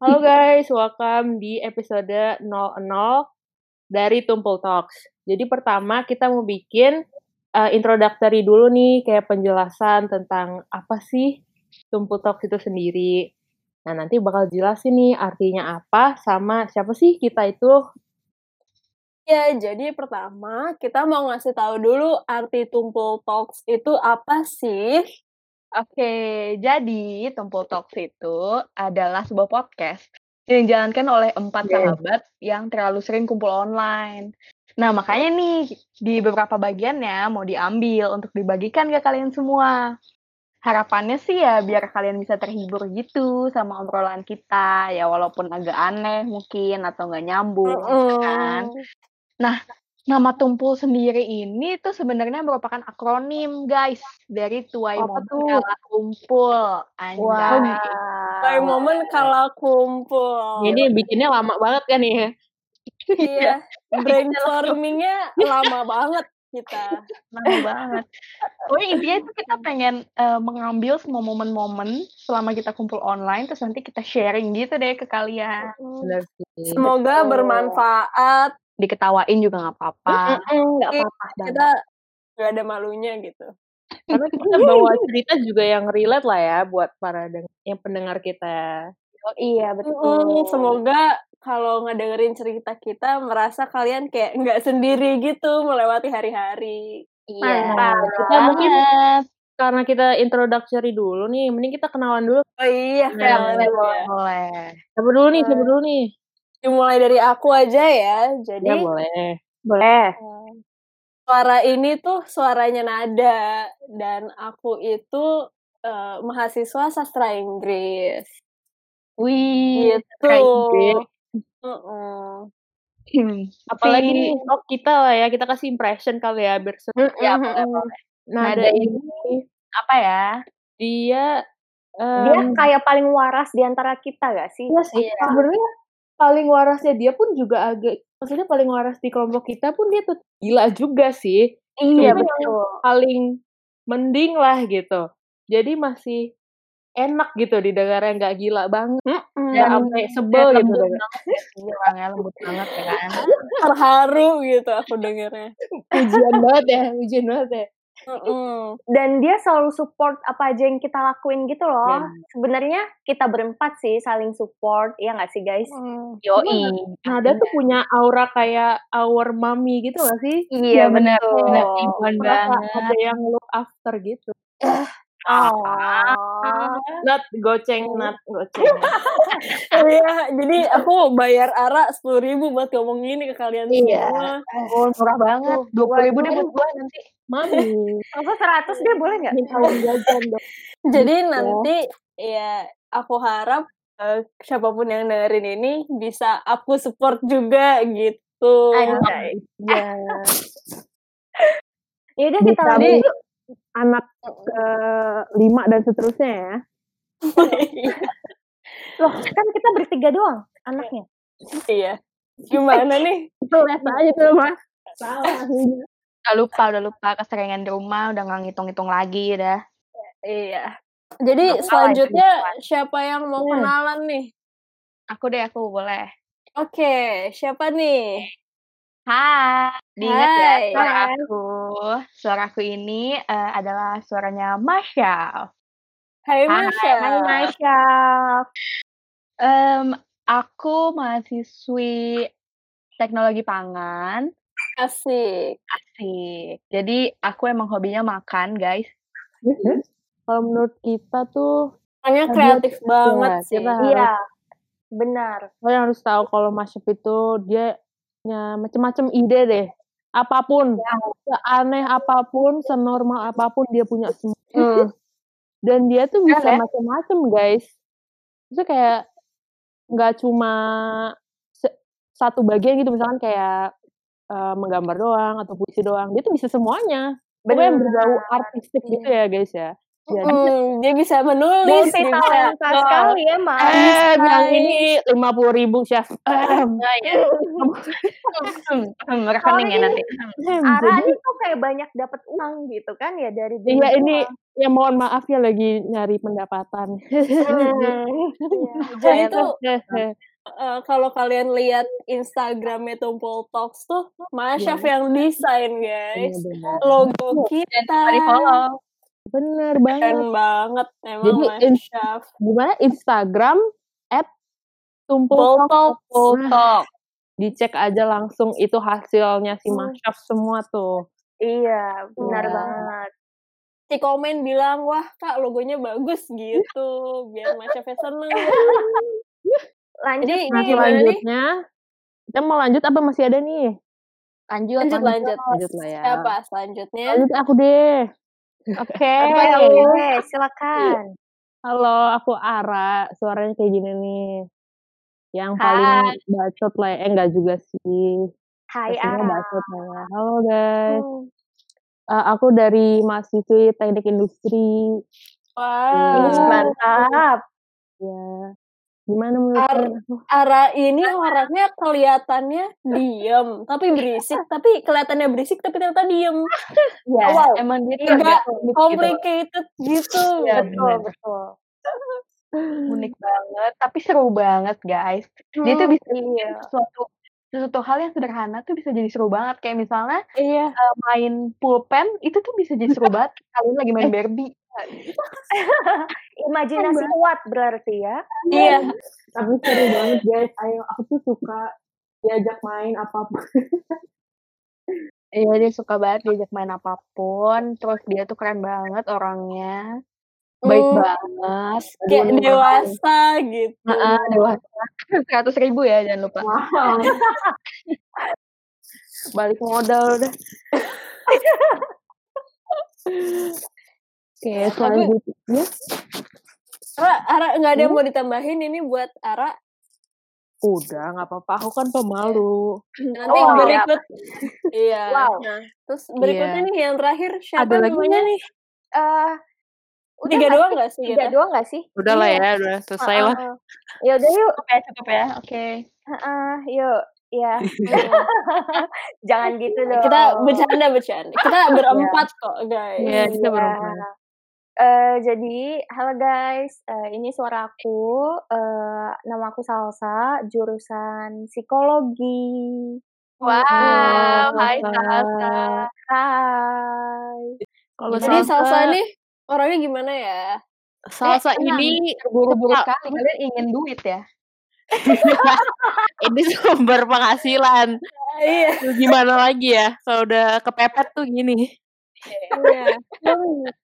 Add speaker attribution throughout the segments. Speaker 1: Halo guys, welcome di episode 00 dari Tumpul Talks. Jadi pertama kita mau bikin eh, introductory dulu nih, kayak penjelasan tentang apa sih Tumpul Talks itu sendiri. Nah nanti bakal jelasin nih artinya apa, sama siapa sih kita itu.
Speaker 2: Ya, jadi pertama kita mau ngasih tahu dulu arti tumpul talks itu apa sih?
Speaker 3: Oke, jadi Tumpul Talks itu adalah sebuah podcast yang dijalankan oleh empat
Speaker 2: Iya.
Speaker 1: Yes.
Speaker 3: sahabat yang terlalu sering kumpul online. Nah, makanya nih di beberapa bagiannya mau diambil untuk dibagikan ke kalian semua. Harapannya sih ya biar kalian bisa terhibur gitu sama obrolan kita, ya walaupun agak aneh mungkin atau nggak nyambung gitu kan. Nama tumpul sendiri ini tuh sebenarnya merupakan akronim, guys, dari Tuai
Speaker 1: Apa
Speaker 3: Momen
Speaker 1: tuh?
Speaker 3: Kala Kumpul. Anjay.
Speaker 2: By moment kalau kumpul.
Speaker 1: Jadi bikinnya lama banget kan ya.
Speaker 2: Iya, brainstormingnya lama banget kita.
Speaker 3: Lama banget. Pokoknya intinya itu kita pengen eh, mengambil semua momen-momen selama kita kumpul online, terus nanti kita sharing gitu deh ke kalian.
Speaker 1: Bener sih.
Speaker 2: Semoga
Speaker 3: Betul.
Speaker 2: bermanfaat.
Speaker 3: Diketawain juga nggak apa-apa.
Speaker 1: Mm-mm, nggak
Speaker 2: Iya,
Speaker 1: apa-apa. Dan-
Speaker 2: Kita gak ada malunya gitu.
Speaker 1: Karena kita bawa cerita juga yang relate lah ya buat para deng- yang pendengar kita.
Speaker 3: Oh, iya,
Speaker 2: Mm, Semoga kalau ngedengerin cerita kita merasa kalian kayak nggak sendiri gitu melewati hari-hari.
Speaker 3: Iya,
Speaker 2: Iya,
Speaker 3: Mantap.
Speaker 1: Kita mungkin karena kita introductory dulu nih, mending kita kenalan dulu.
Speaker 2: Oh iya,
Speaker 1: Iya,
Speaker 2: kenalan
Speaker 3: boleh,
Speaker 2: dulu ya.
Speaker 3: boleh.
Speaker 1: Siapa dulu nih? Siapa
Speaker 2: Hmm.
Speaker 1: dulu nih?
Speaker 2: Dimulai dari aku aja ya. Jadi
Speaker 3: Iya,
Speaker 1: Ya boleh.
Speaker 3: Boleh.
Speaker 4: Eh.
Speaker 2: suara ini tuh suaranya nada dan aku itu eh, mahasiswa sastra Inggris
Speaker 4: Hmm,
Speaker 1: Iya,
Speaker 3: Wih.
Speaker 2: gitu.
Speaker 1: Inggris.
Speaker 2: Mm-mm.
Speaker 1: Apalagi
Speaker 3: Si-
Speaker 1: nih, oh kita lah ya, kita kasih impression kali ya biar seru.
Speaker 3: Ya,
Speaker 2: Mm-mm.
Speaker 3: boleh, boleh.
Speaker 1: Nah,
Speaker 3: Nada
Speaker 1: ada
Speaker 3: ini apa ya?
Speaker 1: dia
Speaker 4: dia
Speaker 1: em,
Speaker 4: kayak paling waras di antara kita gak sih?
Speaker 1: Iya sih. Sebenarnya paling warasnya dia pun juga agak maksudnya paling waras di kelompok kita pun dia tuh gila juga sih. Iya,
Speaker 4: betul.
Speaker 1: Paling mending lah gitu. Jadi masih enak gitu di yang nggak gila banget.
Speaker 4: Hmm.
Speaker 2: Mm-mm.
Speaker 1: Nggak
Speaker 3: Dan-
Speaker 1: sampai sebel
Speaker 3: dan
Speaker 1: gitu.
Speaker 3: Iya, lembut Iya, orangnya lembut banget ya kan.
Speaker 2: Terharu gitu aku dengernya.
Speaker 1: Ujian banget ya, ujian banget ya.
Speaker 2: Mm-mm.
Speaker 4: Dan dia selalu support apa aja yang kita lakuin gitu loh.
Speaker 2: Iya.
Speaker 1: Dan-
Speaker 4: Sebenarnya kita berempat sih saling support, ya gak sih guys?
Speaker 2: Mm.
Speaker 3: Yoi.
Speaker 1: Nada tuh punya aura kayak our mommy gitu gak sih?
Speaker 3: Iya benar,
Speaker 4: betul.
Speaker 3: benar ibuan
Speaker 1: Merasa
Speaker 3: banget.
Speaker 1: ada yang look after gitu.
Speaker 3: Ah.
Speaker 4: Oh.
Speaker 1: Nat goceng, nat goceng.
Speaker 2: Oh iya, jadi aku bayar Ara sepuluh ribu buat ngomong ini ke kalian
Speaker 3: Iya.
Speaker 2: semua.
Speaker 3: Oh, murah banget. Dua puluh ribu deh buat gua nanti.
Speaker 1: Mami,
Speaker 4: Aku 100 deh boleh nggak?
Speaker 1: minta uang jajan dong.
Speaker 2: Jadi
Speaker 4: Iya.
Speaker 2: nanti ya aku harap eh, siapapun yang dengerin ini bisa aku support juga gitu.
Speaker 4: Anjay.
Speaker 1: Iya.
Speaker 4: Ya udah kita
Speaker 1: Bisa,
Speaker 4: lanjut.
Speaker 1: Anak ke lima dan seterusnya ya.
Speaker 4: Loh, kan kita bertiga doang anaknya.
Speaker 2: iya. Gimana nih?
Speaker 1: Itu les aja tuh, Mas.
Speaker 3: Udah lupa, udah lupa keseringan di rumah, udah nggak ngitung-ngitung lagi udah.
Speaker 2: Iya. Jadi
Speaker 3: Nggak
Speaker 2: selanjutnya siapa yang mau
Speaker 1: Hmm.
Speaker 2: kenalan nih?
Speaker 3: Aku deh, aku boleh.
Speaker 2: Oke, siapa nih?
Speaker 3: Hai. Diingat ya
Speaker 2: Hai.
Speaker 3: suara aku. Suara aku ini eh, adalah suaranya Masya.
Speaker 2: Hai ya.
Speaker 3: Hai,
Speaker 2: Masya.
Speaker 4: Hai Masya.
Speaker 3: Em, aku mahasiswi teknologi pangan.
Speaker 2: Asik.
Speaker 3: Asik. Jadi aku emang hobinya makan, guys.
Speaker 1: Mm-hmm. Kalau menurut kita tuh,
Speaker 2: Orangnya
Speaker 1: Dia
Speaker 2: kreatif banget
Speaker 1: Iya,
Speaker 2: sih.
Speaker 1: kita harus-
Speaker 4: Iya. Benar.
Speaker 1: kalian harus tahu kalau mashup itu dia ya, macam-macam ide deh. Apapun, seaneh apapun, senormal apapun dia punya semua.
Speaker 2: Hmm.
Speaker 1: Dan dia tuh bisa
Speaker 2: ya?
Speaker 3: Keren.
Speaker 1: macam-macam, guys. Itu kayak nggak cuma se- satu bagian gitu, misalkan kayak eh, menggambar doang atau puisi doang. Dia tuh bisa semuanya. Pokoknya yang berbau artistik
Speaker 2: iya.
Speaker 1: gitu ya, guys ya. Jadi
Speaker 2: Mm, dia bisa menulis,
Speaker 4: Multi
Speaker 2: dia bisa
Speaker 4: talenta sekali ya, Mas.
Speaker 1: Eh,
Speaker 2: Nice.
Speaker 1: bilang ini lima puluh ribu chef.
Speaker 3: Hmm, rekening ya
Speaker 4: Sorry.
Speaker 3: nanti.
Speaker 4: Ara
Speaker 1: Hmm, Jadi,
Speaker 4: ini tuh kayak banyak dapat uang gitu kan ya dari
Speaker 1: Iya
Speaker 4: jual.
Speaker 1: ini ya mohon maaf ya lagi nyari pendapatan.
Speaker 4: Iya,
Speaker 2: Jadi tuh
Speaker 1: Hehehe.
Speaker 2: eh, kalau kalian lihat Instagramnya Tumpul Talks tuh Masya
Speaker 1: Iya.
Speaker 2: yang desain guys.
Speaker 1: Benar, Iya.
Speaker 2: Logo kita
Speaker 3: Mari follow.
Speaker 1: Benar banget.
Speaker 2: keren banget emang
Speaker 1: Iya. Jadi,
Speaker 2: Mas
Speaker 1: in-
Speaker 2: Syaf.
Speaker 1: Gimana Instagram app tumpul Nah,
Speaker 2: Tumpul Talks.
Speaker 3: Talk.
Speaker 1: dicek aja langsung itu hasilnya si
Speaker 2: Hmm.
Speaker 1: Masyaf semua tuh.
Speaker 4: Iya, benar
Speaker 1: Iya.
Speaker 4: banget.
Speaker 2: Si komen bilang, wah kak logonya bagus gitu. Biar Mas Syaf seneng.
Speaker 4: Lanjut
Speaker 2: Jadi ini
Speaker 1: Nah,
Speaker 2: gimana nih?
Speaker 1: selanjutnya kita mau lanjut apa masih ada nih?
Speaker 3: Lanjut,
Speaker 2: Lanjut, lanjut.
Speaker 1: Lanjut lah ya.
Speaker 2: Siapa selanjutnya?
Speaker 1: Lanjut aku deh. Oke.
Speaker 4: Oke, oke, silakan.
Speaker 1: Halo, aku Ara. Suaranya kayak gini nih. Yang paling bacot lah ya. Eh, enggak juga sih.
Speaker 4: Hai
Speaker 1: Pastinya
Speaker 4: Ara.
Speaker 1: bacot lah ya. Halo guys. Eh, aku dari mahasiswi teknik industri.
Speaker 2: Wah,
Speaker 1: Iya.
Speaker 4: Mantap.
Speaker 1: Ya. Gimana menurut
Speaker 2: Ar-
Speaker 1: kalian?
Speaker 2: Ara ini orangnya kelihatannya diem, tapi berisik, tapi kelihatannya berisik, tapi ternyata diem.
Speaker 3: Iya,
Speaker 4: Oh,
Speaker 2: Wow.
Speaker 3: emang dia tuh
Speaker 2: Enggak
Speaker 3: agak unik gitu.
Speaker 2: Complicated gitu.
Speaker 3: Iya, bener.
Speaker 4: Betul, betul.
Speaker 3: unik banget, tapi seru banget guys. Dia
Speaker 4: Iya. Hmm.
Speaker 3: tuh bisa bikin sesuatu sesuatu hal yang sederhana tuh bisa jadi seru banget. Kayak misalnya
Speaker 2: Iya.
Speaker 3: eh, main pulpen itu tuh bisa jadi seru banget. Kalian lagi main Barbie.
Speaker 4: Imajinasi kuat berarti ya.
Speaker 2: Iya.
Speaker 1: Tapi seru banget guys. Ayo, aku tuh suka diajak main apapun.
Speaker 3: Iya dia suka banget diajak main apapun. Terus dia tuh keren banget orangnya, baik
Speaker 2: Hmm,
Speaker 3: banget. Nah.
Speaker 2: Kayak
Speaker 3: Aduh,
Speaker 2: dewasa gitu.
Speaker 3: Heeh, dewasa. Seratus ribu ya jangan lupa.
Speaker 1: Balik modal udah. Oke,
Speaker 3: ya,
Speaker 1: selanjutnya.
Speaker 2: Ara, Ara nggak ada yang mau ditambahin ini buat Ara.
Speaker 1: Udah, nggak apa-apa. Aku kan pemalu.
Speaker 2: Nanti
Speaker 4: Wow.
Speaker 2: berikut. Iya.
Speaker 4: Wow.
Speaker 2: Nah, terus berikutnya nih yang terakhir siapa
Speaker 1: Ada lagi
Speaker 2: namanya
Speaker 1: nggak?
Speaker 2: nih?
Speaker 4: Eh, udah
Speaker 2: Tiga
Speaker 4: nggak
Speaker 2: doang
Speaker 4: sih?
Speaker 2: nggak sih?
Speaker 4: Tiga
Speaker 2: kita?
Speaker 4: doang nggak sih?
Speaker 1: iya
Speaker 4: Iya.
Speaker 1: Udah lah ya, udah selesai lah.
Speaker 4: Ya udah yuk,
Speaker 3: Cukup ya, cukup ya. Oke.
Speaker 4: Heeh, yuk. Ya, jangan gitu
Speaker 1: Nah,
Speaker 4: dong.
Speaker 2: Kita bercanda bercanda. Kita berempat kok guys.
Speaker 1: Iya, kita
Speaker 4: Iya.
Speaker 1: berempat.
Speaker 4: Eh, jadi, halo guys, Eh, ini suara aku. Eh, nama aku Salsa, jurusan psikologi.
Speaker 3: Wow, hai
Speaker 1: Salsa.
Speaker 3: Salsa.
Speaker 4: Hai.
Speaker 1: Kalau
Speaker 2: Jadi
Speaker 1: salsa,
Speaker 2: Salsa nih orangnya gimana ya?
Speaker 1: salsa
Speaker 3: Eh, tenang.
Speaker 1: ini
Speaker 3: Buru-buru
Speaker 1: Tetap.
Speaker 3: kali kalian ingin duit ya?
Speaker 1: ini sumber penghasilan.
Speaker 2: Iya.
Speaker 1: Terus Gimana lagi ya? Kalau udah kepepet tuh gini.
Speaker 2: Iya.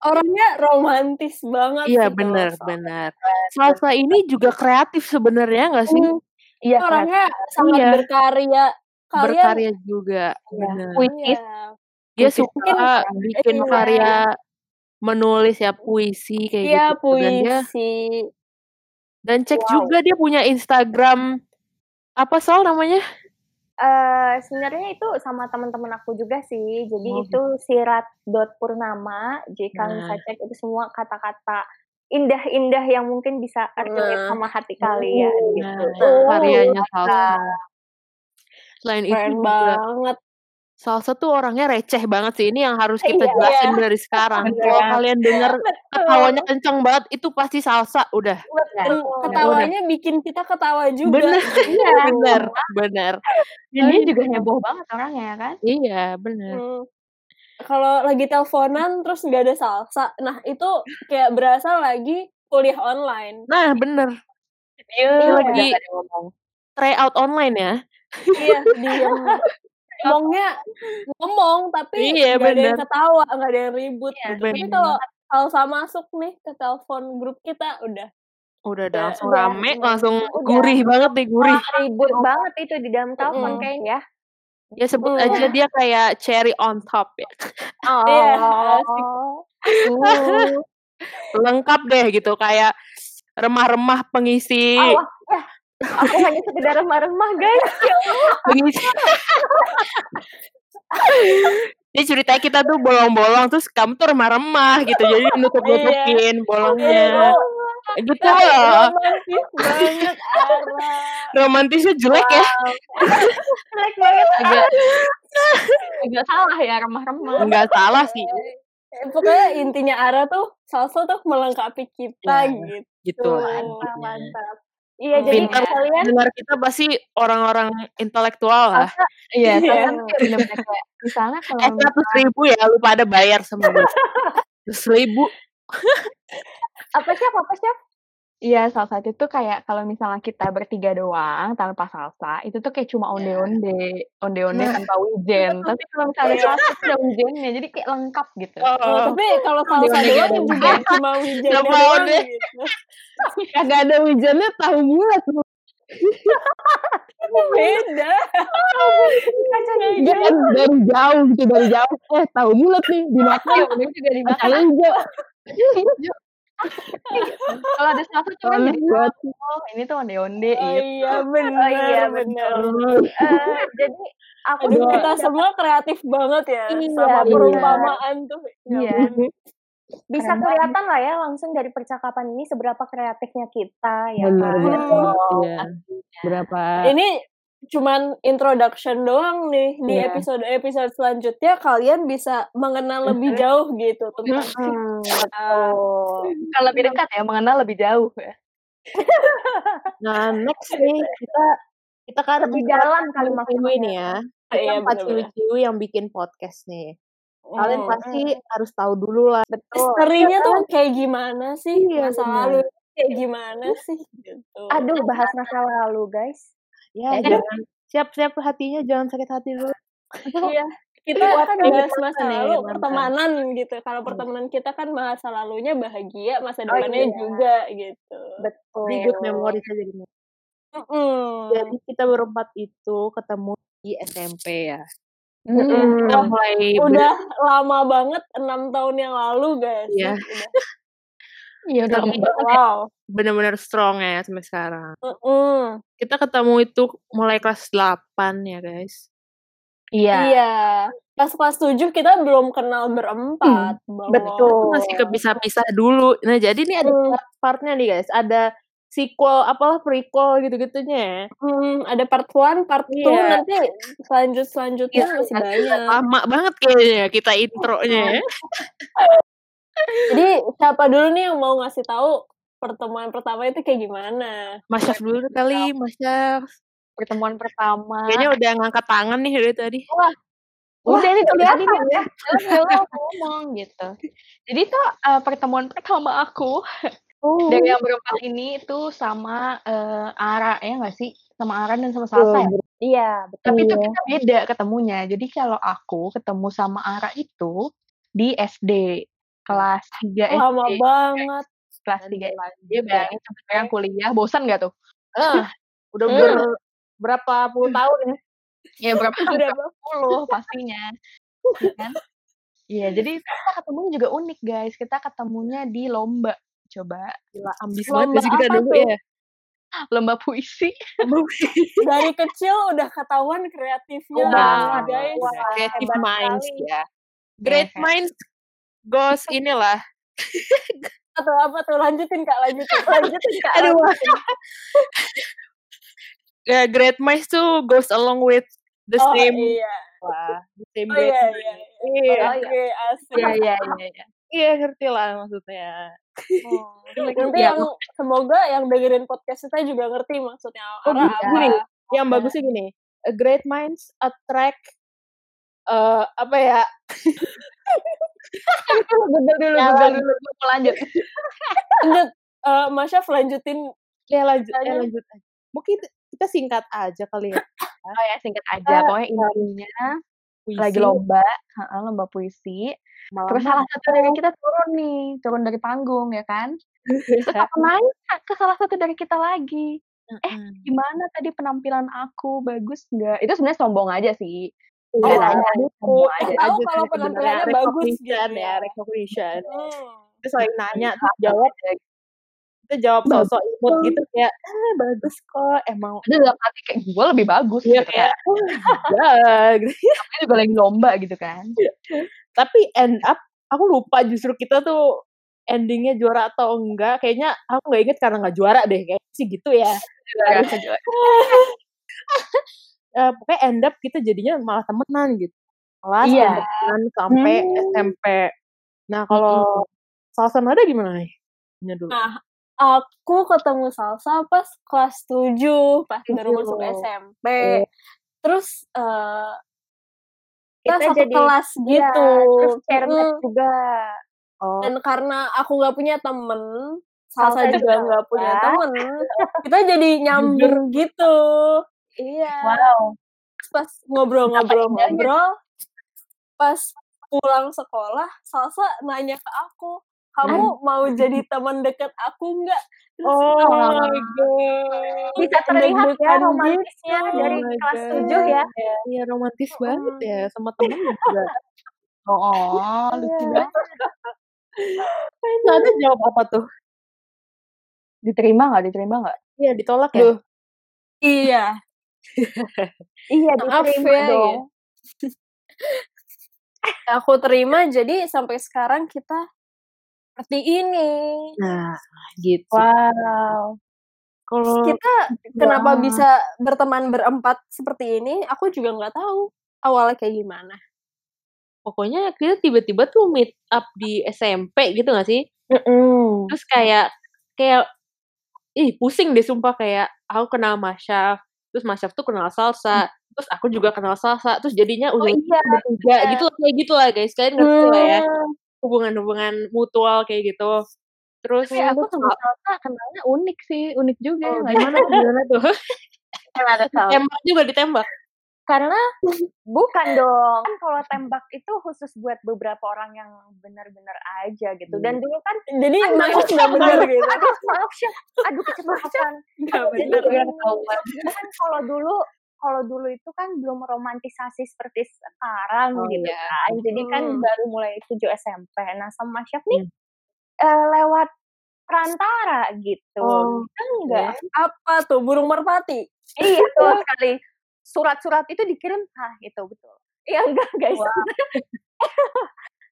Speaker 2: Orangnya romantis banget.
Speaker 1: Iya
Speaker 2: sih,
Speaker 1: benar
Speaker 2: Salsa.
Speaker 1: benar. Salsa ini juga kreatif sebenarnya nggak sih?
Speaker 3: Iya, kan?
Speaker 2: Orangnya sangat
Speaker 1: Iya.
Speaker 2: berkarya. Kalian
Speaker 1: Berkarya gitu. juga. Benar.
Speaker 3: puitis.
Speaker 2: Iya.
Speaker 1: Dia
Speaker 3: Puitis
Speaker 1: suka bikin
Speaker 2: Iya.
Speaker 1: karya menulis ya puisi kayak
Speaker 2: Iya,
Speaker 1: gitu. Dan dia
Speaker 2: puisi.
Speaker 1: dan cek
Speaker 4: Wow.
Speaker 1: juga dia punya Instagram apa soal namanya?
Speaker 4: Eh, sebenarnya itu sama teman-teman aku juga sih. Jadi
Speaker 1: Oh,
Speaker 4: itu sirat.purnama. Jadi
Speaker 1: Nah.
Speaker 4: kalian bisa cek itu semua kata-kata indah-indah yang mungkin bisa relate
Speaker 2: Nah.
Speaker 4: sama hati kalian gitu.
Speaker 1: Nah, karyanya Salsa. Selain
Speaker 2: Keren
Speaker 1: itu juga Iya,
Speaker 2: banget.
Speaker 1: Salsa tuh orangnya receh banget sih. Ini yang harus kita
Speaker 4: Iya.
Speaker 1: jelasin dari sekarang.
Speaker 3: Bener.
Speaker 1: Kalau kalian denger ketawanya kenceng banget, itu pasti salsa. Udah.
Speaker 3: Iya.
Speaker 2: Dan
Speaker 4: Betul.
Speaker 2: ketawanya bikin kita ketawa juga.
Speaker 1: Bener.
Speaker 4: Iya.
Speaker 1: bener. Bener.
Speaker 3: Dan dia juga heboh banget orangnya ya kan?
Speaker 1: Iya, bener.
Speaker 2: Hmm. Kalau lagi teleponan terus nggak ada salsa, nah itu kayak berasa lagi kuliah online.
Speaker 1: Nah, bener.
Speaker 3: Iya,
Speaker 1: lagi-
Speaker 3: nggak ada ngomong.
Speaker 1: Tryout online ya.
Speaker 2: Iya, diam. Ngomongnya ngomong tapi
Speaker 1: Iya,
Speaker 2: nggak ada yang
Speaker 1: bener.
Speaker 2: ketawa, nggak ada yang ribut.
Speaker 3: Iya,
Speaker 2: Tapi
Speaker 1: bener.
Speaker 2: kalau salsa masuk nih ke telepon grup kita udah.
Speaker 1: Udah,
Speaker 2: Udah,
Speaker 1: langsung
Speaker 4: udah,
Speaker 1: rame,
Speaker 4: udah.
Speaker 1: langsung
Speaker 4: Udah.
Speaker 1: gurih banget nih, gurih.
Speaker 4: Wah, ribut banget itu di dalam telepon
Speaker 2: Mm-mm.
Speaker 4: kayaknya ya.
Speaker 1: Ya sebut
Speaker 2: Mm.
Speaker 1: aja dia kayak cherry on top ya.
Speaker 4: Oh.
Speaker 2: Iya, asik.
Speaker 4: Uh.
Speaker 1: Lengkap deh gitu, kayak remah-remah pengisi
Speaker 4: Allah, eh, aku hanya sekedar remah-remah guys. Ya
Speaker 1: Pengisi. Dia ceritanya kita tuh
Speaker 4: Iya.
Speaker 1: bolong-bolong terus kamu tuh remah-remah gitu. Jadi nutup-nutupin bolongnya. Gitu loh.
Speaker 2: romantis banget Ara
Speaker 1: Romantisnya jelek ya.
Speaker 4: Jelek banget.
Speaker 3: Agak agak salah ya remah-remah.
Speaker 1: Enggak salah sih.
Speaker 2: Eh, pokoknya intinya Ara tuh salsa tuh melengkapi kita
Speaker 1: Ya,
Speaker 2: gitu
Speaker 1: Gitu lah.
Speaker 4: Wah,
Speaker 1: intinya.
Speaker 4: mantap. Iya, jadi
Speaker 1: Pintar.
Speaker 4: kalian
Speaker 1: Dengar kita pasti orang-orang intelektual lah.
Speaker 2: Iya.
Speaker 3: Iya, soalnya tuh kayak bener-bener kayak di sana kalau
Speaker 1: Eh, seratus ribu ya, lu pada bayar semua. Seratus ribu.
Speaker 4: apa siap apa siap?
Speaker 3: Iya, salsa itu tuh kayak kalau misalnya kita bertiga doang tanpa salsa, itu tuh kayak cuma onde-onde, onde-onde
Speaker 1: Nah.
Speaker 3: tanpa wijen. Iya. Tapi kalau misalnya ada salsa tuh ada wijennya, jadi kayak lengkap gitu.
Speaker 2: Oh, tapi kalau salsa
Speaker 1: Dewa
Speaker 2: doang
Speaker 1: Dewa.
Speaker 2: juga cuma wijaya
Speaker 1: Nama
Speaker 2: doang
Speaker 1: Ode.
Speaker 2: gitu
Speaker 1: kagak ada hujannya tahu bulat. lu.
Speaker 2: beda Iya. Oh,
Speaker 1: Dia kan dari jauh gitu dari jauh. Eh tahu bulat nih dimakan.
Speaker 3: Iya, bener juga dimakan.
Speaker 1: Kacang hijau.
Speaker 3: Kalau ada salsa cuma
Speaker 1: Aneh banget.
Speaker 3: oh, ini tuh onde-onde.
Speaker 2: oh
Speaker 3: gitu.
Speaker 2: iya benar
Speaker 4: Oh iya,
Speaker 2: benar
Speaker 3: iya.
Speaker 4: Eh, jadi aku
Speaker 2: Aduh,
Speaker 4: juga
Speaker 2: kita semua kreatif banget ya
Speaker 4: Iya,
Speaker 2: sama
Speaker 1: bener.
Speaker 2: perumpamaan tuh Ya
Speaker 3: Iya.
Speaker 2: ampun.
Speaker 4: bisa
Speaker 3: Keren banget.
Speaker 4: kelihatan lah ya langsung dari percakapan ini seberapa kreatifnya kita ya
Speaker 1: Bener,
Speaker 4: kan.
Speaker 1: bener.
Speaker 3: Oh,
Speaker 1: Iya. Berapa?
Speaker 2: ini cuman introduction doang nih di
Speaker 1: Iya.
Speaker 2: episode episode selanjutnya kalian bisa mengenal lebih jauh gitu tentang
Speaker 4: Hmm,
Speaker 2: Ah.
Speaker 4: betul.
Speaker 3: Kalau lebih dekat ya, mengenal lebih jauh ya.
Speaker 1: Nah next nih kita kita kan
Speaker 4: Lebih dalam kali
Speaker 1: ciwi nih ya. Kita
Speaker 2: Iya,
Speaker 1: empat
Speaker 2: bener-bener.
Speaker 1: ciwi-ciwi yang bikin podcast nih. Kalian
Speaker 2: Hmm.
Speaker 1: pasti harus tahu dulu lah.
Speaker 4: Betul.
Speaker 2: misterinya tuh kayak gimana sih
Speaker 1: Iya,
Speaker 2: masa
Speaker 1: benar.
Speaker 2: lalu kayak gimana sih gitu
Speaker 4: Aduh, bahas masa lalu, guys.
Speaker 1: Ya
Speaker 3: Iya.
Speaker 1: jangan siap-siap hatinya jangan sakit hati dulu.
Speaker 2: iya kita
Speaker 4: Iya,
Speaker 2: kan
Speaker 1: iya,
Speaker 2: bahas
Speaker 1: iya,
Speaker 2: masa
Speaker 1: iya,
Speaker 2: lalu
Speaker 1: iya,
Speaker 2: pertemanan gitu
Speaker 1: Mm.
Speaker 2: kalau pertemanan kita kan masa lalunya bahagia masa
Speaker 4: Oh,
Speaker 2: depannya
Speaker 4: iya.
Speaker 2: juga gitu
Speaker 4: Betul.
Speaker 1: Jadi good memories aja gitu. Jadi kita berempat itu ketemu di SMP ya. Kita
Speaker 2: Wah,
Speaker 1: mulai
Speaker 2: udah lama banget enam tahun yang lalu guys
Speaker 1: Iya.
Speaker 3: Iya, udah lama banget.
Speaker 2: wow
Speaker 1: bener-bener strong ya sampai sekarang.
Speaker 2: Mm-mm.
Speaker 1: Kita ketemu itu mulai kelas 8 ya guys.
Speaker 3: Iya.
Speaker 2: iya pas kelas tujuh kita belum kenal berempat belum
Speaker 1: Itu masih kepisah-pisah dulu. Nah jadi nih ada
Speaker 2: Hmm.
Speaker 1: part-partnya nih guys. Ada sequel, apalah prequel gitu-gitunya ya.
Speaker 2: Hmm, ada part 1, part 2,
Speaker 1: Iya.
Speaker 2: nanti lanjut selanjutnya
Speaker 1: Iya,
Speaker 2: masih
Speaker 1: iya.
Speaker 2: banyak.
Speaker 1: Lama banget kayaknya kita intronya ya.
Speaker 2: Jadi siapa dulu nih yang mau ngasih tahu pertemuan pertama itu kayak gimana?
Speaker 1: Mas Syaf dulu kali, Mas Syaf.
Speaker 3: Pertemuan pertama.
Speaker 1: Kayaknya udah ngangkat tangan nih dari tadi.
Speaker 3: udah nih kelihatan
Speaker 4: kelihatan
Speaker 3: ya kalau ngomong gitu jadi tuh eh, pertemuan pertama aku dari yang berempat ini itu sama eh, Ara ya nggak sih sama Ara dan sama Salsa ya?
Speaker 4: Iya, betul.
Speaker 3: tapi itu kita beda ketemunya jadi kalau aku ketemu sama Ara itu di SD kelas 3 SD
Speaker 2: Lama banget.
Speaker 3: kelas 3 SD bayangin sebenarnya kuliah bosan gak tuh
Speaker 1: Ah, udah
Speaker 2: Hmm.
Speaker 1: ber- berapa puluh tahun ya.
Speaker 3: ya berapa
Speaker 2: Udah
Speaker 3: berapa puluh pastinya ya kan Iya, jadi kita ketemunya juga unik guys. Kita ketemunya di lomba. Coba
Speaker 1: Gila, ambis
Speaker 2: Lomba
Speaker 1: banget sih kita
Speaker 2: apa
Speaker 1: dulu
Speaker 2: tuh?
Speaker 1: ya.
Speaker 3: lomba puisi.
Speaker 2: dari kecil udah ketahuan kreatifnya
Speaker 1: Wah,
Speaker 2: banget, guys.
Speaker 1: wah, Creative
Speaker 4: hebat
Speaker 1: minds
Speaker 4: sekali.
Speaker 1: ya. Great
Speaker 3: Hebat.
Speaker 1: minds goes inilah.
Speaker 2: Atau apa tuh lanjutin Kak, lanjutin. Lanjutin Kak.
Speaker 1: Aduh.
Speaker 2: lanjutin.
Speaker 1: Ya, great minds tuh goes along with the
Speaker 2: Oh
Speaker 1: same
Speaker 2: iya.
Speaker 1: lah, the same
Speaker 2: Oh
Speaker 1: great
Speaker 2: iya
Speaker 1: minds.
Speaker 2: iya.
Speaker 1: Iya,
Speaker 4: Oh,
Speaker 2: Oke, asik.
Speaker 3: Iya, iya, iya, iya.
Speaker 1: iya ngerti lah maksudnya.
Speaker 2: Nanti
Speaker 3: Iya,
Speaker 2: yang semoga yang dengerin podcast kita juga ngerti maksudnya
Speaker 1: Oh,
Speaker 2: Ara
Speaker 1: gitu.
Speaker 2: apa.
Speaker 1: Gini, Yang
Speaker 2: iya.
Speaker 1: bagusnya gini, a great minds attract eh apa ya?
Speaker 3: Google dulu,
Speaker 2: Ya,
Speaker 1: Jalan.
Speaker 3: Google dulu. Gue mau lanjut.
Speaker 2: Lanjut Eh, Masya lanjutin
Speaker 1: Ya lanjut, ya,
Speaker 2: Tanya.
Speaker 1: lanjut. aja. Mungkin kita singkat aja kali ya.
Speaker 3: Oh ya, singkat aja. Pokoknya intinya
Speaker 1: Puisi,
Speaker 3: lagi lomba, heeh, lomba puisi.
Speaker 1: malam.
Speaker 3: Terus salah satu dari kita turun nih, turun dari panggung ya kan. Terus aku nanya ke salah satu dari kita lagi, "Eh,
Speaker 1: Mm.
Speaker 3: gimana tadi penampilan aku, bagus nggak? Itu sebenarnya sombong aja sih.
Speaker 1: Iya,
Speaker 3: Biasa
Speaker 1: nanya
Speaker 3: aja,
Speaker 1: buku.
Speaker 3: sombong aja.
Speaker 1: Tahu
Speaker 2: Tahu kalau penampilannya bagus gitu
Speaker 1: ya.
Speaker 2: ya.
Speaker 1: Recognition.
Speaker 2: Hmm.
Speaker 1: Terus saling nanya, terus jawab, kita jawab
Speaker 3: Bagus
Speaker 1: sosok imut gitu kayak, ah, bagus kok, emang
Speaker 3: Ada dalam hati kayak gue lebih bagus
Speaker 1: Iya
Speaker 3: gitu
Speaker 1: kayak,
Speaker 3: kan.
Speaker 1: "Wah, gitu.
Speaker 3: Ini juga lagi lomba gitu kan.
Speaker 1: Tapi end up, aku lupa justru kita tuh endingnya juara atau enggak kayaknya aku nggak inget karena nggak juara deh kayak sih gitu ya
Speaker 3: Juara, juara.
Speaker 1: Eh, pokoknya end up kita jadinya malah temenan gitu malah
Speaker 3: Iya.
Speaker 1: temenan sampai
Speaker 3: Hmm.
Speaker 1: SMP nah kalau salsa nada gimana nih Ini dulu
Speaker 2: Nah, aku ketemu Salsa pas kelas 7, pas baru
Speaker 1: Tujuh.
Speaker 2: masuk SMP.
Speaker 1: Iya.
Speaker 2: Terus eh, kita,
Speaker 4: Kita
Speaker 2: satu
Speaker 4: jadi-
Speaker 2: kelas
Speaker 4: Iya,
Speaker 2: gitu.
Speaker 4: terus share
Speaker 2: Mm.
Speaker 4: match juga.
Speaker 1: oh
Speaker 2: Dan karena aku nggak punya temen, Salsa,
Speaker 4: Salsa
Speaker 2: juga
Speaker 4: juga
Speaker 2: nggak punya
Speaker 4: nggak.
Speaker 2: temen, kita jadi nyambung gitu. Iya.
Speaker 3: Wow.
Speaker 2: Terus pas ngobrol-ngobrol-ngobrol, pas pulang sekolah, Salsa nanya ke aku,
Speaker 4: Ah.
Speaker 2: kamu mau jadi teman dekat aku nggak? Terus
Speaker 1: oh
Speaker 2: aku
Speaker 1: my god
Speaker 4: Bisa terlihat ya
Speaker 2: deg-degan
Speaker 4: romantisnya
Speaker 2: gitu.
Speaker 4: dari
Speaker 1: Oh my
Speaker 4: kelas
Speaker 1: God.
Speaker 4: 7 ya.
Speaker 1: Iya romantis banget ya sama temen juga.
Speaker 3: Oh, oh, lucu
Speaker 4: Iya.
Speaker 3: banget.
Speaker 1: Nggak ada kan jawab apa tuh?
Speaker 3: Diterima nggak? Diterima nggak?
Speaker 1: Iya ditolak ya.
Speaker 2: Duh. Iya.
Speaker 4: Iya,
Speaker 2: Maaf
Speaker 4: diterima
Speaker 2: ya,
Speaker 4: dong.
Speaker 2: aku terima jadi sampai sekarang kita seperti ini
Speaker 1: Nah gitu.
Speaker 3: Wow. Oh,
Speaker 1: Kalau
Speaker 4: Oh,
Speaker 2: Terus kita
Speaker 4: iya.
Speaker 2: kenapa bisa berteman berempat seperti ini aku juga nggak tahu awalnya kayak gimana
Speaker 1: pokoknya kita tiba-tiba tuh meet up di SMP gitu gak sih?
Speaker 3: Hmm.
Speaker 1: Terus kayak kayak ih pusing deh sumpah kayak aku kenal Masyaf, terus Masyaf tuh kenal
Speaker 3: Hmm.
Speaker 1: Salsa, terus aku juga kenal Salsa, terus jadinya
Speaker 4: Oh
Speaker 1: udah
Speaker 4: iya,
Speaker 1: bertiga
Speaker 4: bener.
Speaker 1: gitu loh, kayak gitu lah guys. Kalian ngerti lah ya hubungan-hubungan mutual kayak gitu. Terus
Speaker 3: Tapi aku sama
Speaker 1: Oh,
Speaker 3: Salsa kenalnya unik sih, unik juga. ya nggak
Speaker 1: gimana tuh gimana tuh?
Speaker 3: ada Salsa.
Speaker 1: Tembak juga ditembak.
Speaker 4: karena bukan dong. Kan kalau tembak itu khusus buat beberapa orang yang benar-benar aja gitu.
Speaker 1: Hmm.
Speaker 4: Dan dulu kan
Speaker 2: jadi maksud nggak benar gitu
Speaker 4: aduh maaf sih aduh kecepatan
Speaker 2: nggak
Speaker 4: jadi
Speaker 2: benar
Speaker 4: gini, kan kalau dulu kalau dulu itu kan belum romantisasi seperti sekarang
Speaker 1: Oh,
Speaker 4: gitu
Speaker 1: iya.
Speaker 4: kan jadi kan
Speaker 2: Hmm.
Speaker 4: baru mulai 7 SMP nah sama Syaf nih
Speaker 1: Hmm.
Speaker 4: eh, lewat perantara gitu
Speaker 1: Oh,
Speaker 4: Kita enggak
Speaker 2: apa tuh burung merpati
Speaker 4: iya betul sekali surat-surat itu dikirim ah itu betul iya enggak guys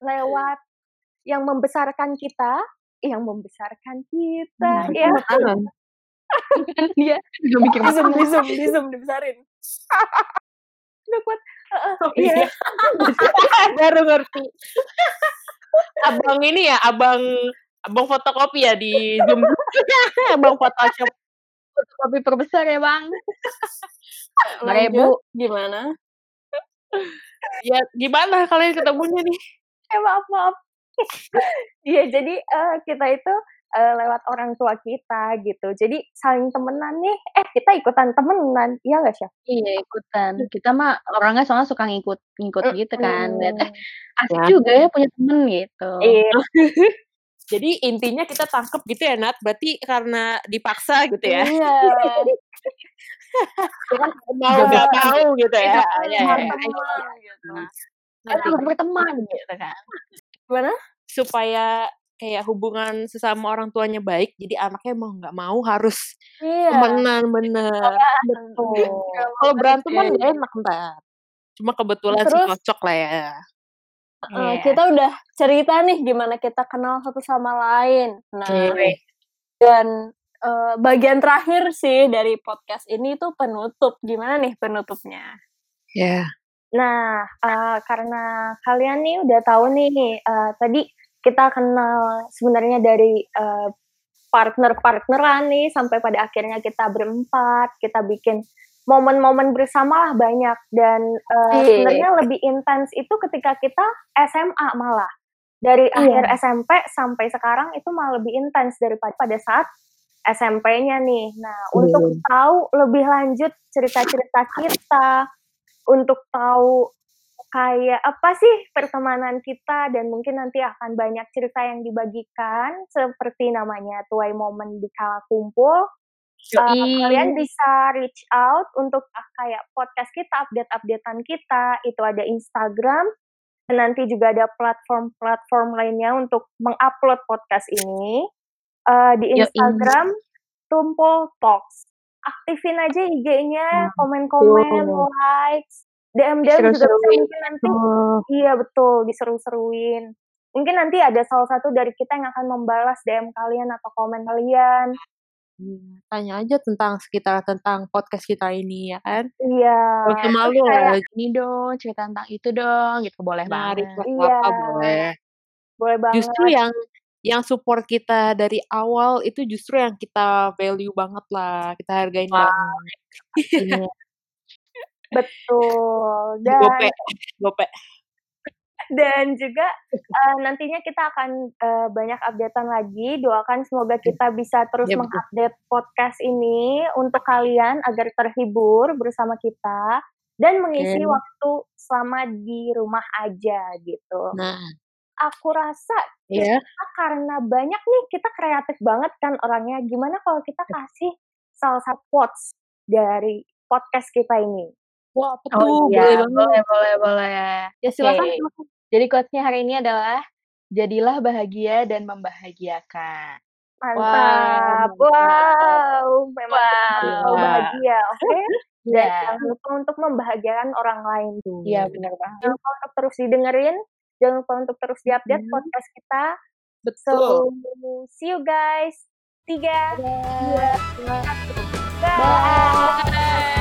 Speaker 4: lewat yang membesarkan kita yang membesarkan kita
Speaker 1: Nah,
Speaker 3: Hmm.
Speaker 4: ya
Speaker 1: Tangan.
Speaker 3: Dia juga mikir
Speaker 2: di zoom di zoom di zoom dibesarin
Speaker 4: udah kuat
Speaker 1: Oh, iya. Baru ngerti. Abang ini ya, abang abang fotokopi ya di Zoom. abang Photoshop.
Speaker 3: kopi perbesar ya bang.
Speaker 2: Lanjut,
Speaker 3: Ribu.
Speaker 2: gimana
Speaker 1: Ya gimana kalian ketemunya nih?
Speaker 4: eh maaf maaf iya jadi eh, kita itu eh, lewat orang tua kita gitu jadi saling temenan nih eh kita ikutan temenan iya nggak sih
Speaker 3: Iya ikutan. Kita mah orangnya soalnya suka ngikut ngikut gitu kan. Lihat, eh, asik
Speaker 1: Ya.
Speaker 3: juga ya punya temen gitu.
Speaker 4: iya
Speaker 1: Jadi intinya kita tangkep gitu ya Nat, berarti karena dipaksa gitu ya.
Speaker 2: iya
Speaker 1: Mau nggak mau gitu
Speaker 2: Iya.
Speaker 1: ya. Ya, ya, ya.
Speaker 2: teman gitu
Speaker 3: Kan harus berteman gitu kan.
Speaker 2: gimana
Speaker 1: Supaya kayak hubungan sesama orang tuanya baik, jadi anaknya mau nggak mau harus
Speaker 2: iya
Speaker 1: temenan bener.
Speaker 2: Gitu.
Speaker 4: betul
Speaker 1: Kalau berantem kan
Speaker 3: Iya,
Speaker 1: nggak enak Nah, ntar. Cuma kebetulan sih
Speaker 2: Terus-
Speaker 1: cocok lah ya.
Speaker 2: Eh,
Speaker 3: Iya.
Speaker 2: kita udah cerita nih gimana kita kenal satu sama lain. Nah,
Speaker 1: Oke.
Speaker 2: dan eh, bagian terakhir sih dari podcast ini tuh penutup. Gimana nih penutupnya?
Speaker 1: Ya.
Speaker 4: iya. Nah, eh, karena kalian nih udah tahu nih, eh, tadi kita kenal sebenarnya dari eh, partner-partneran nih, sampai pada akhirnya kita berempat, kita bikin momen-momen bersama lah banyak. Dan eh,
Speaker 2: Asik.
Speaker 4: sebenarnya lebih intens itu ketika kita SMA malah. Dari akhir SMP sampai sekarang itu malah lebih intens daripada pada saat SMP-nya nih. Nah, untuk tahu lebih lanjut cerita-cerita kita, untuk tahu kayak apa sih pertemanan kita dan mungkin nanti akan banyak cerita yang dibagikan seperti namanya tuai momen di kala kumpul. Uh, kalian bisa reach out untuk uh, kayak podcast kita, update-updatean kita, itu ada Instagram. Dan nanti juga ada platform-platform lainnya untuk mengupload podcast ini. Uh, di
Speaker 3: Yoi.
Speaker 4: Instagram Tumpul Talks. Aktifin aja IG-nya, komen-komen,
Speaker 1: betul.
Speaker 4: likes, DM-DM juga bisa
Speaker 3: Seru-seruin.
Speaker 4: mungkin nanti. Iya betul, diseru-seruin. Mungkin nanti ada salah satu dari kita yang akan membalas DM kalian atau komen kalian.
Speaker 1: Iya, Tanya aja tentang sekitar tentang podcast kita ini ya kan.
Speaker 4: Iya.
Speaker 1: Gak usah malu lah.
Speaker 3: Ini dong, cerita tentang itu dong, gitu boleh
Speaker 1: Nah,
Speaker 3: banget.
Speaker 1: request
Speaker 4: Iya.
Speaker 1: apa boleh.
Speaker 4: Boleh banget.
Speaker 1: Justru yang yang support kita dari awal itu justru yang kita value banget lah. Kita hargain
Speaker 3: Wah.
Speaker 1: banget.
Speaker 3: Iya.
Speaker 4: Betul. Dan
Speaker 1: Gope. Gope.
Speaker 4: dan juga eh, nantinya kita akan eh, banyak updatean lagi doakan semoga kita bisa terus
Speaker 1: Iya, betul.
Speaker 4: mengupdate podcast ini untuk kalian agar terhibur bersama kita dan mengisi
Speaker 1: Oke.
Speaker 4: waktu selama di rumah aja gitu
Speaker 1: Nah,
Speaker 4: aku rasa
Speaker 1: iya.
Speaker 4: ah, karena banyak nih kita kreatif banget kan orangnya gimana kalau kita kasih salah satu quotes dari podcast kita ini
Speaker 1: Wah, apa tuh?
Speaker 3: Oh,
Speaker 1: Boleh
Speaker 3: iya,
Speaker 1: banget.
Speaker 3: boleh, boleh, boleh.
Speaker 1: Ya silakan.
Speaker 3: Oke. Jadi quotes-nya hari ini adalah jadilah bahagia dan membahagiakan.
Speaker 4: mantap
Speaker 1: mantap.
Speaker 4: wow, memang kita
Speaker 2: Iya.
Speaker 3: Wow.
Speaker 4: harus selalu bahagia oke Dan
Speaker 3: Iya.
Speaker 4: jangan lupa untuk membahagiakan orang lain.
Speaker 3: Iya, benar banget.
Speaker 4: Jangan lupa untuk terus didengerin. Jangan lupa untuk terus diupdate
Speaker 1: Hmm.
Speaker 4: podcast kita. So,
Speaker 1: Betul.
Speaker 4: see you guys. Tiga, dua, satu. Bye.
Speaker 3: Bye.